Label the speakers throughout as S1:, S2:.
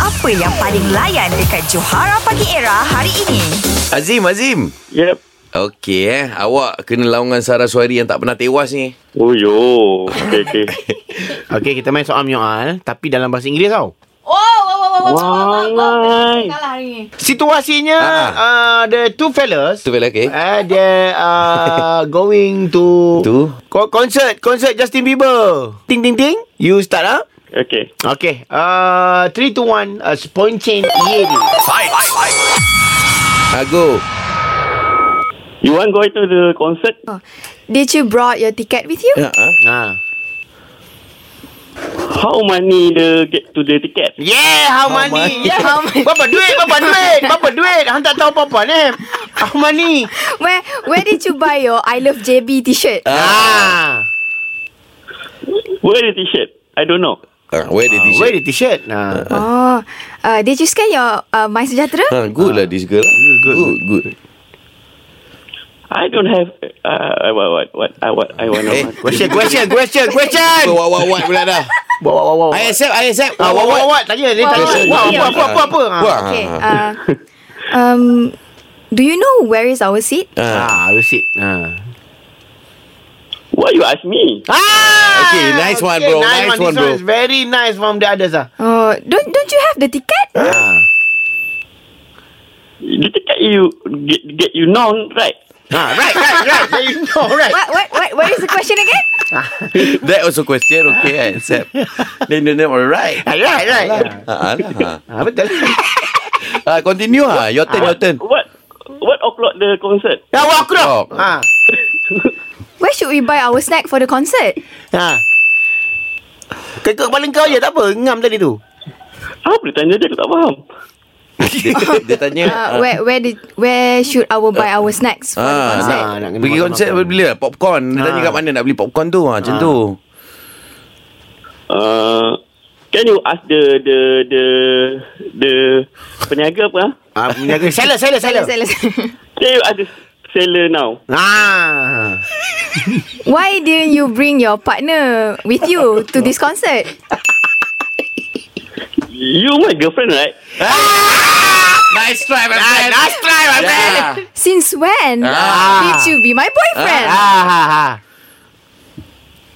S1: Apa yang paling layan dekat Johara Pagi Era hari ini?
S2: Azim, Azim.
S3: Yep.
S2: Okey eh, awak kena laungan Sarah Suari yang tak pernah tewas ni.
S3: Oh yo. Okey okey.
S4: Okey, kita main soal menyoal tapi dalam bahasa Inggeris tau.
S5: Wow, wow, wow, wow, wow, wow, wow, wow.
S3: Walai.
S5: Kalah lah hari ni.
S4: Situasinya
S2: Ah.
S4: uh, the two fellas
S2: Tu bela okey.
S4: uh, they are going to
S2: Tu.
S4: co- concert concert Justin Bieber. Ting ting ting. You start ah. up.
S3: Okey.
S4: Okay. Uh, three to one. Uh, spontaneity.
S2: Ago.
S3: You want go to the concert?
S5: Did you brought your ticket with you?
S2: Ha. ah.
S4: Ah.
S3: How money the get to the ticket?
S4: Yeah, how, money?
S2: money?
S4: Yeah.
S5: How money?
S4: Berapa duit? Berapa duit? Berapa duit? Hang tak tahu apa-apa ni. How money?
S5: Where Where did you buy your I love JB T-shirt?
S4: Ah.
S3: Where the t-shirt? I don't know.
S2: Ah, Where the
S4: ah.
S2: t-shirt?
S4: Wear the t-shirt. Ah.
S5: Oh, uh, did you scan your uh, My Sejahtera?
S2: Ha, good lah this girl.
S4: good,
S2: good. good.
S3: I don't have uh, what what what I what I want
S2: Eh,
S3: to.
S4: Question, question, question, question.
S2: Wah, wah, wah pula dah.
S4: Wah, wah, wah, wah.
S2: I accept, I accept.
S4: Ah, wah, wah, wah. Tanya, dia tanya.
S2: Question,
S4: Wah,
S2: question.
S4: apa, apa, apa, apa. Ah.
S2: Wah.
S5: Okay. Uh, um, do you know where is our seat?
S2: Ah.
S4: Ah, lucid. Ah.
S3: Why you ask me?
S4: Ah,
S2: Okay, nice one, bro. Nice one,
S4: This
S2: bro.
S4: is very nice from the others ah.
S5: Oh, don't don't you have the ticket?
S4: Ah.
S3: The ticket you get, get you known right?
S4: Ah, right, right, right. You know, right.
S5: What what what what is the question again?
S2: That also question, okay, I accept. Then the name alright.
S4: Ah, right, right.
S2: Ha, alah.
S4: Ah, betul.
S2: Ah, continue ha. Your turn, your turn.
S3: What what o'clock the concert?
S4: Ya, wah, aku dah.
S2: Oh.
S4: Ah.
S5: Where should we buy our snack for the concert?
S4: Ha. Kekak kepala kau je tak apa Ngam tadi tu
S3: Apa dia tanya Ah, dia aku tak faham.
S4: Ah.
S2: Dia, dia tanya.
S5: Uh, where where did where should our buy our snacks for the
S2: Ah,
S5: concert?
S4: nak kena
S2: Pergi
S4: makan
S2: konsert
S4: makan.
S2: bila? Popcorn. Dia
S4: Ah.
S2: tanya kat mana nak beli popcorn tu. Ha, macam
S4: Ah.
S2: tu.
S3: Uh, can you ask the the the the peniaga apa? ah?
S4: Ah, menjaga Seller, seller, seller
S5: Let's- let's-
S3: Can you ask the seller now?
S4: Ah.
S5: Why didn't you bring your partner with you to this concert?
S3: You my girlfriend right?
S2: Nice try, my
S4: Ah, nice try,
S2: Ya.
S4: my friend.
S5: Since when
S2: Ah.
S5: did you be my boyfriend?
S4: Ah, ha, ha.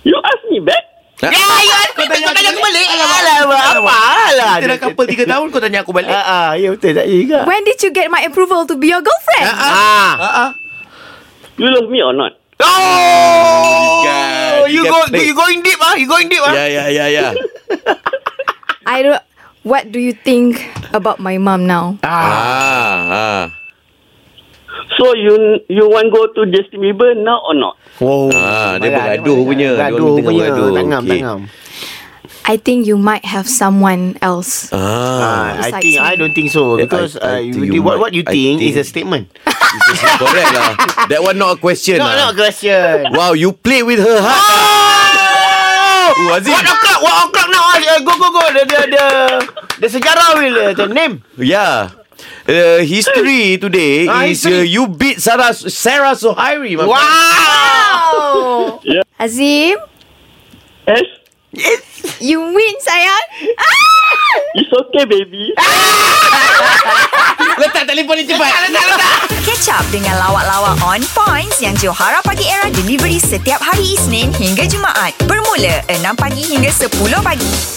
S3: You ask me back?
S4: Ya, ya, kau tanya aku balik.
S2: Ya,
S4: Alamak, apa lah.
S2: Kita dah couple 3 tahun kau tanya aku balik.
S4: Ah, ah, ya betul tak ya juga.
S5: When did you get my approval to be your girlfriend?
S4: Ah.
S3: You love me or not?
S4: Oh,
S2: God, you
S4: you go,
S2: can play.
S4: you going deep ah, you going deep ah.
S2: Ya, ya, ya, ya.
S5: I don't. What do you think about my mom now?
S2: Ah, ah.
S3: So you you want go to Justin Bieber now or not?
S4: Wow.
S2: Ah, dia bergaduh punya. Dia
S4: lah, Bergaduh
S2: orang tengah
S4: punya.
S2: bergaduh.
S4: Tak ngam, tak
S2: Okey.
S4: ngam.
S5: I think you might have someone else.
S2: Ah.
S4: Ah, I
S5: Besides
S4: think
S5: me.
S4: I don't think so
S2: Yeah,
S4: because
S2: I- I
S4: uh, you,
S2: think you
S4: what
S2: might-
S4: what you
S2: I
S4: think,
S2: think-
S4: is a statement.
S2: Correct lah. That one not a question
S4: No,
S2: lah.
S4: no question.
S2: Wow, you play with her heart.
S4: Oh!
S2: Oh, Aziz.
S4: What o'clock? What o'clock now? Uh, go, go, go. The, the, the, the sejarah will uh, the name.
S2: Yeah. Uh, history today
S4: Ah,
S2: is uh,
S4: history.
S2: you beat Sarah Sarah Sohairi. my friend.
S4: Wow!
S5: Oh,
S3: Yeah.
S5: Azim,
S3: Yes,
S5: you win, sayang. Ah!
S3: it's okay, baby.
S2: Letak telefon ni cepat.
S1: Catch up dengan lawak-lawak on points yang Johara Pagi Era delivery setiap hari Isnin hingga Jumaat. Bermula 6 pagi hingga 10 pagi.